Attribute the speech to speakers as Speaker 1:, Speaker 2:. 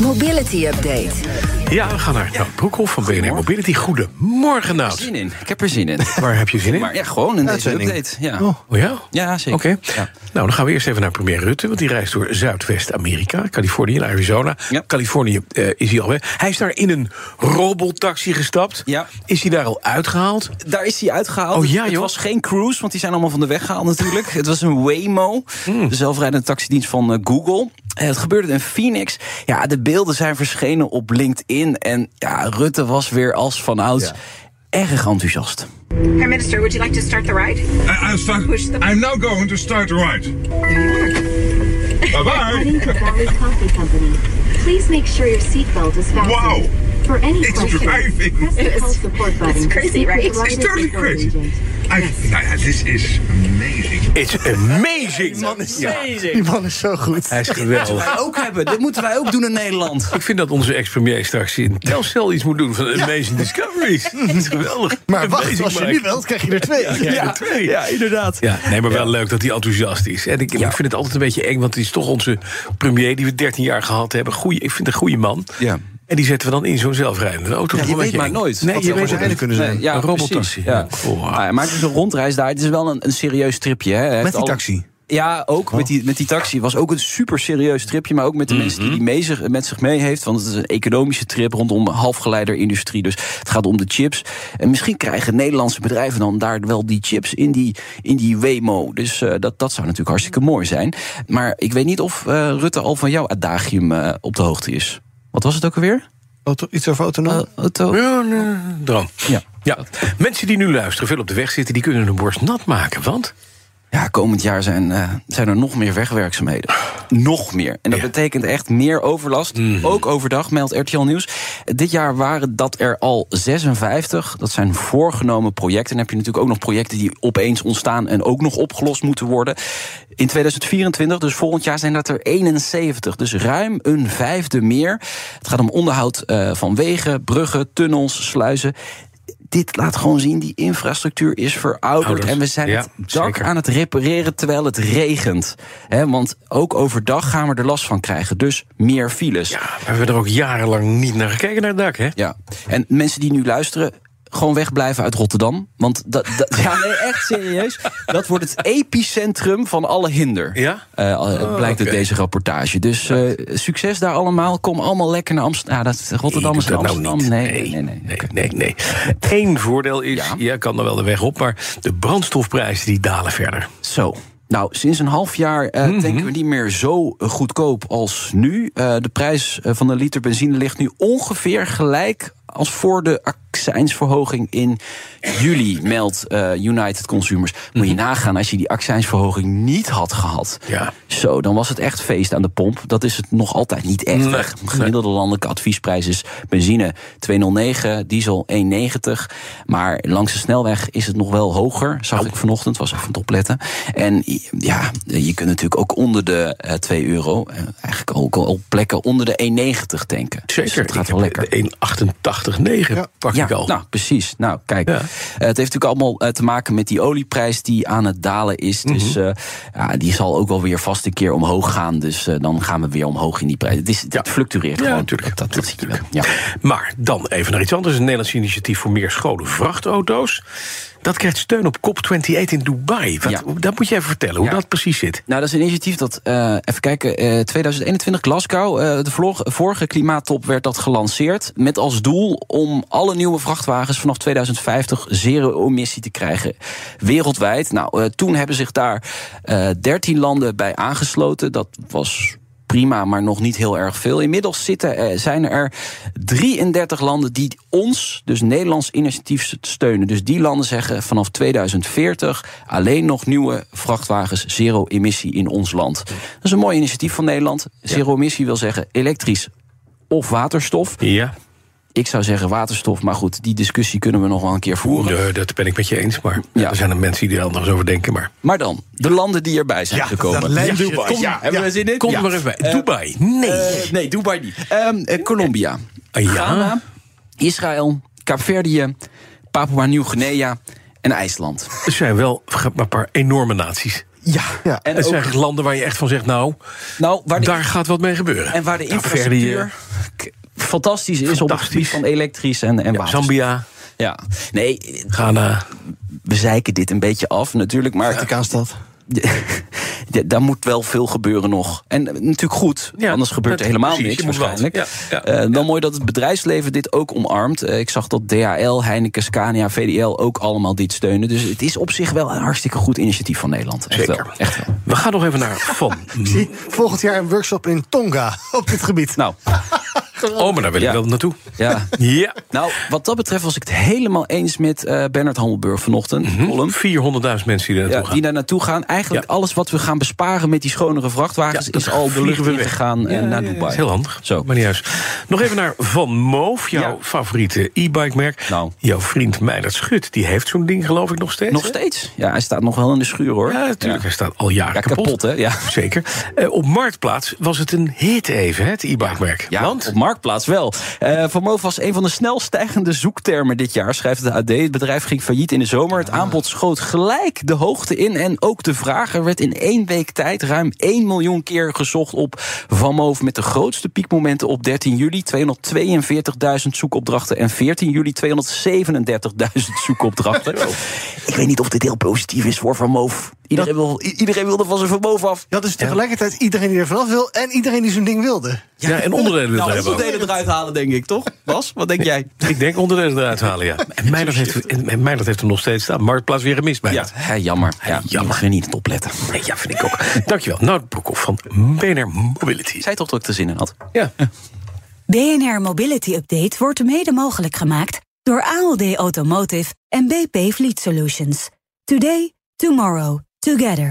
Speaker 1: Mobility Update.
Speaker 2: Ja, we gaan naar Nout Broekhoff van BNR Mobility. Goedemorgen, Nout.
Speaker 3: Zin in. Ik heb er zin in.
Speaker 2: Waar heb je zin in?
Speaker 3: Maar ja, gewoon in deze
Speaker 2: Uitzending.
Speaker 3: update. Ja.
Speaker 2: Oh, oh ja?
Speaker 3: Ja, zeker.
Speaker 2: Oké.
Speaker 3: Ja.
Speaker 2: Nou, dan gaan we eerst even naar premier Rutte. Want die reist door Zuidwest-Amerika, Californië en Arizona.
Speaker 3: Ja.
Speaker 2: Californië eh, is hij al weg. Hij is daar in een robotaxi gestapt.
Speaker 3: Ja.
Speaker 2: Is hij daar al uitgehaald?
Speaker 3: Daar is hij uitgehaald.
Speaker 2: Oh ja,
Speaker 3: het
Speaker 2: joh.
Speaker 3: was geen cruise, want die zijn allemaal van de weg gehaald natuurlijk. het was een Waymo,
Speaker 2: Hmm.
Speaker 3: de zelfrijdende taxidienst van eh, Google. Eh, Het gebeurde in Phoenix. Ja, de beelden zijn verschenen op LinkedIn. En ja, Rutte was weer als van ouds
Speaker 2: Ja.
Speaker 3: erg enthousiast.
Speaker 4: Prime Minister, would you like to start the ride?
Speaker 5: I, I'll start.
Speaker 4: Push the-
Speaker 5: I'm now going to start right. Bye
Speaker 6: Heading
Speaker 5: bye.
Speaker 6: for Valley Coffee Company. Please make sure your seatbelt is
Speaker 5: Wow.
Speaker 6: fastened. For any
Speaker 5: It's
Speaker 6: questions,
Speaker 5: driving.
Speaker 6: press the call support button.
Speaker 4: it's crazy,
Speaker 6: Speak with
Speaker 4: right?
Speaker 6: the
Speaker 4: It's
Speaker 6: Rogers
Speaker 5: totally
Speaker 6: support
Speaker 5: crazy.
Speaker 6: agent.
Speaker 5: I, nou ja, this is amazing.
Speaker 2: It's amazing. Die man is,
Speaker 3: Amazing.
Speaker 2: zo goed. Hij is geweldig.
Speaker 3: Wij ook hebben. Dit moeten wij ook doen in Nederland.
Speaker 2: Ik vind dat onze ex-premier straks in Telcel iets moet doen van Amazing Discoveries. Dat is geweldig.
Speaker 7: Maar wacht,
Speaker 2: Amazing
Speaker 7: als je
Speaker 2: Mike.
Speaker 7: nu wilt, krijg je er twee.
Speaker 2: Ja, ja, twee.
Speaker 3: Ja, inderdaad.
Speaker 2: Ja, nee, maar wel leuk dat hij enthousiast is. En ik, ik vind het altijd een beetje eng, want het is toch onze premier die we 13 jaar gehad hebben. Goeie, ik vind een goede man.
Speaker 3: Ja.
Speaker 2: En die zetten we dan in zo'n zelfrijdende auto.
Speaker 3: Ja, je
Speaker 2: Omdat
Speaker 3: weet maar
Speaker 2: eng-
Speaker 3: nooit
Speaker 2: Nee,
Speaker 3: wat
Speaker 2: je
Speaker 3: er
Speaker 2: weet het
Speaker 7: uiteindelijk
Speaker 2: niet.
Speaker 7: kunnen zijn.
Speaker 3: Nee, ja,
Speaker 2: Een robottaxi.
Speaker 3: precies,
Speaker 2: Ja.
Speaker 3: Ja.
Speaker 2: Wow.
Speaker 3: Ah, hij maakt dus een rondreis daar. Het is wel een, een serieus tripje. Hè. Hij heeft
Speaker 7: Oh. Met die
Speaker 3: al-
Speaker 7: taxi. Oh.
Speaker 3: Ja, ook met, die, met die taxi. Was ook een super serieus tripje. Maar ook met de
Speaker 7: Mhm.
Speaker 3: mensen die die mee zich, met zich mee heeft. Want het is een economische trip rondom halfgeleiderindustrie. Dus het gaat om de chips. En misschien krijgen Nederlandse bedrijven dan daar wel die chips in die, in die Waymo. Dus eh, dat, dat zou natuurlijk hartstikke mooi zijn. Maar ik weet niet of eh, Rutte al van jouw adagium eh, op de hoogte is. Wat was het ook alweer?
Speaker 7: Auto- Iets over autonoom?
Speaker 3: Eh, auto-
Speaker 2: Ja, nee, droom.
Speaker 3: Ja.
Speaker 2: Ja. Mensen die nu luisteren, veel op de weg zitten, die kunnen hun borst nat maken. Want
Speaker 3: Ja, komend jaar zijn, eh, zijn er nog meer wegwerkzaamheden. Nog meer. En dat
Speaker 2: Ja. Mhm.
Speaker 3: betekent echt meer overlast. Ook overdag, meldt RTL Nieuws. Dit jaar waren dat er al 56. Dat zijn voorgenomen projecten. En dan heb je natuurlijk ook nog projecten die opeens ontstaan... en ook nog opgelost moeten worden. In 2024, dus volgend jaar, zijn dat er 71. Dus ruim een vijfde meer. Het gaat om onderhoud eh, van wegen, bruggen, tunnels, sluizen... Dit laat gewoon zien, die infrastructuur is verouderd.
Speaker 2: Ouders.
Speaker 3: En we zijn
Speaker 2: Ja,
Speaker 3: het dak
Speaker 2: zeker.
Speaker 3: aan het repareren terwijl het regent. Hè, want ook overdag gaan we er last van krijgen. Dus meer files.
Speaker 2: ja, ah, we hebben er ook jarenlang niet naar gekeken, naar het dak, hè?
Speaker 3: Ja. En mensen die nu luisteren. Gewoon wegblijven uit Rotterdam. Want dat, dat- ja, nee, echt serieus. Dat wordt het epicentrum van alle hinder.
Speaker 2: Ja? Oh,
Speaker 3: Eh, al- het blijkt
Speaker 2: oké.
Speaker 3: uit deze rapportage. Dus eh, succes daar allemaal. Kom allemaal lekker naar Amsterdam. Ja, dat, Rotterdam is
Speaker 2: Nee,
Speaker 3: naar
Speaker 2: doe dat
Speaker 3: Amsterdam.
Speaker 2: Nou niet.
Speaker 3: nee, nee, nee. nee.
Speaker 2: nee, nee, nee. Eén voordeel is,
Speaker 3: Ja.
Speaker 2: je kan er wel de weg op, maar de brandstofprijzen die dalen verder.
Speaker 3: Zo. Nou, sinds een half jaar eh denken we niet meer zo goedkoop als nu. Eh, de prijs eh, van een liter benzine ligt nu ongeveer gelijk als voor de accijnsverhoging in juli, meldt eh, United Consumers. Moet je nagaan als je die accijnsverhoging niet had gehad.
Speaker 2: Ja.
Speaker 3: Zo, dan was het echt feest aan de pomp. Dat is het nog altijd niet echt.
Speaker 2: Nee,
Speaker 3: Echt, Gemiddelde landelijke adviesprijs is benzine 2,09, diesel 1,90. Maar langs de snelweg is het nog wel hoger, zag ik vanochtend. Was even aan het opletten. En ja, je kunt natuurlijk ook onder de eh, 2 euro... eh, eigenlijk ook al op plekken onder de 1,90 tanken. Dus
Speaker 2: Zeker.
Speaker 3: dat gaat wel lekker.
Speaker 2: 1,88,9 pak
Speaker 3: Ja,
Speaker 2: ik al.
Speaker 3: nou precies. Nou, kijk,
Speaker 2: Ja.
Speaker 3: eh, het heeft natuurlijk allemaal eh, te maken met die olieprijs die aan het dalen is.
Speaker 2: Mhm.
Speaker 3: Dus eh, ja, die zal ook wel weer vast een keer omhoog gaan. Dus eh, dan gaan we weer omhoog in die prijs. Het, is, het
Speaker 2: Ja.
Speaker 3: fluctueert
Speaker 2: Ja,
Speaker 3: gewoon.
Speaker 2: natuurlijk,
Speaker 3: Dat, dat, dat zie je
Speaker 2: natuurlijk,
Speaker 3: wel. Ja.
Speaker 2: Maar dan even naar iets anders. Een Nederlands initiatief voor meer schone vrachtauto's. Dat krijgt steun op COP28 in Dubai. Wat,
Speaker 3: Ja.
Speaker 2: Dat moet jij even vertellen, hoe
Speaker 3: Ja.
Speaker 2: dat precies zit.
Speaker 3: Nou, dat is een initiatief dat, eh, even kijken, eh, 2021 Glasgow, eh, de vlog- vorige klimaattop werd dat gelanceerd. Met als doel om alle nieuwe vrachtwagens vanaf 2050 zero-emissie te krijgen wereldwijd. Nou, eh, toen hebben zich daar eh 13 landen bij aangesloten. Dat was prima, maar nog niet heel erg veel. Inmiddels zitten, eh, zijn er 33 landen die ons, dus Nederlands initiatief, steunen. Dus die landen zeggen vanaf 2040 alleen nog nieuwe vrachtwagens zero emissie in ons land. Dat is een mooi initiatief van Nederland. Zero emissie wil zeggen elektrisch of waterstof.
Speaker 2: Ja.
Speaker 3: Ik zou zeggen waterstof, maar goed, die discussie kunnen we nog wel een keer voeren.
Speaker 2: Nee, dat ben ik met je eens, maar
Speaker 3: Ja.
Speaker 2: er zijn er mensen die er anders over denken. Maar
Speaker 3: Maar dan, de landen die erbij zijn gekomen.
Speaker 7: dat lijkt-
Speaker 3: Dubai.
Speaker 7: Kom-
Speaker 3: ja, hebben we zin in?
Speaker 2: kom
Speaker 3: Ja.
Speaker 2: er maar even bij. Dubai, nee.
Speaker 3: Eh, nee, Dubai niet. Ehm, eh, Colombia,
Speaker 2: Ah, ja.
Speaker 3: Ghana, Israël, Kaapverdië, Papua Nieuw-Guinea en IJsland.
Speaker 2: Het zijn wel een paar enorme naties.
Speaker 3: Ja,
Speaker 7: Ja,
Speaker 3: en
Speaker 2: Het
Speaker 3: ook,
Speaker 2: zijn echt landen waar je echt van zegt, nou,
Speaker 3: nou, waar de,
Speaker 2: daar gaat wat mee gebeuren.
Speaker 3: en waar de
Speaker 2: Nou, Verdi,
Speaker 3: infrastructuur k- fantastisch is op het
Speaker 2: Fantastisch.
Speaker 3: gebied van elektrisch en, en
Speaker 2: eh,
Speaker 3: waterstof.
Speaker 2: Zambia,
Speaker 3: Ja, nee,
Speaker 2: Ghana.
Speaker 3: we zeiken dit een beetje af natuurlijk, maar
Speaker 7: Vaticaanstad.
Speaker 3: Ja, daar moet wel veel gebeuren nog. En eh, natuurlijk goed,
Speaker 2: Ja,
Speaker 3: anders gebeurt er
Speaker 2: dat-
Speaker 3: helemaal
Speaker 2: precies,
Speaker 3: niks
Speaker 2: je moet wat.
Speaker 3: waarschijnlijk.
Speaker 2: Ja,
Speaker 3: Eh, wel mooi dat het bedrijfsleven dit ook omarmt. Eh, ik zag dat DHL, Heineken, Scania, VDL ook allemaal dit steunen. Dus het is op zich wel een hartstikke goed initiatief van Nederland. Echt
Speaker 2: Zeker.
Speaker 3: wel. Echt wel.
Speaker 2: We gaan nog even naar Van.
Speaker 7: Zie, volgend jaar een workshop in Tonga op dit gebied.
Speaker 3: Nou,
Speaker 2: Oh, maar daar wil ik
Speaker 3: Ja.
Speaker 2: wel naartoe.
Speaker 3: ja.
Speaker 2: Ja.
Speaker 3: nou, wat dat betreft was ik het helemaal eens met eh Bernard Hammelburg vanochtend. column.
Speaker 2: 400.000 mensen die er
Speaker 3: Ja,
Speaker 2: naartoe
Speaker 3: die
Speaker 2: gaan.
Speaker 3: daar naartoe gaan. Eigenlijk
Speaker 2: Ja.
Speaker 3: alles wat we gaan besparen met die schonere vrachtwagens...
Speaker 2: Ja, dat
Speaker 3: is al de lucht
Speaker 2: vliegen we
Speaker 3: in
Speaker 2: weg.
Speaker 3: gegaan eh, naar Dubai.
Speaker 2: Dat is heel handig.
Speaker 3: Zo.
Speaker 2: Maar niet juist. Nog even naar Van Moof, jouw
Speaker 3: Ja.
Speaker 2: favoriete e-bike merk.
Speaker 3: Nou.
Speaker 2: Jouw vriend Meijnerd Schut, die heeft zo'n ding geloof ik nog steeds.
Speaker 3: Nog
Speaker 2: hè?
Speaker 3: steeds. Ja, hij staat nog wel in de schuur, hoor.
Speaker 2: Ja, natuurlijk. Hij staat al jaren
Speaker 3: Ja, kapot, hè? Ja.
Speaker 2: Zeker. Eh, op Marktplaats was het een hit even, hè, het e-bike merk.
Speaker 3: Ja,
Speaker 2: Want
Speaker 3: op Marktplaats wel. Eh Van Moof was een van de snel stijgende zoektermen dit jaar, schrijft het AD. Het bedrijf ging failliet in de zomer. Het aanbod schoot gelijk de hoogte in. En ook de vraag. Er werd in één week tijd ruim 1 miljoen keer gezocht op Van Moof... met de grootste piekmomenten op 13 juli. 242.000 zoekopdrachten en 14 juli 237.000 zoekopdrachten. Ik weet niet of dit heel positief is voor Van Moof. Iedereen, wil, i- iedereen wilde van zijn Van Moof af.
Speaker 7: Dat is tegelijkertijd iedereen die er vanaf wil en iedereen die zo'n ding wilde.
Speaker 2: ja, en onderdelen
Speaker 3: Nou,
Speaker 2: er
Speaker 3: dat
Speaker 2: hebben. ook.
Speaker 3: delen eruit halen, denk ik, toch? Bas, wat denk jij?
Speaker 2: Ik denk onderdelen eruit halen, ja. En Meijnerd heeft, en Meijnerd heeft hem nog steeds staan. Marktplaats weer gemist bij.
Speaker 3: Ja, hè, jammer. Ja,
Speaker 2: jammer.
Speaker 3: jammer. niet het opletten.
Speaker 2: Nee, ja, vind ik ook. Dankjewel. Nou, Broekhoff van BNR Mobility.
Speaker 3: Zij toch dat ik er zin in had.
Speaker 2: Ja.
Speaker 1: BNR Mobility Update wordt mede mogelijk gemaakt door ALD Automotive en BP Fleet Solutions. Today, tomorrow, together.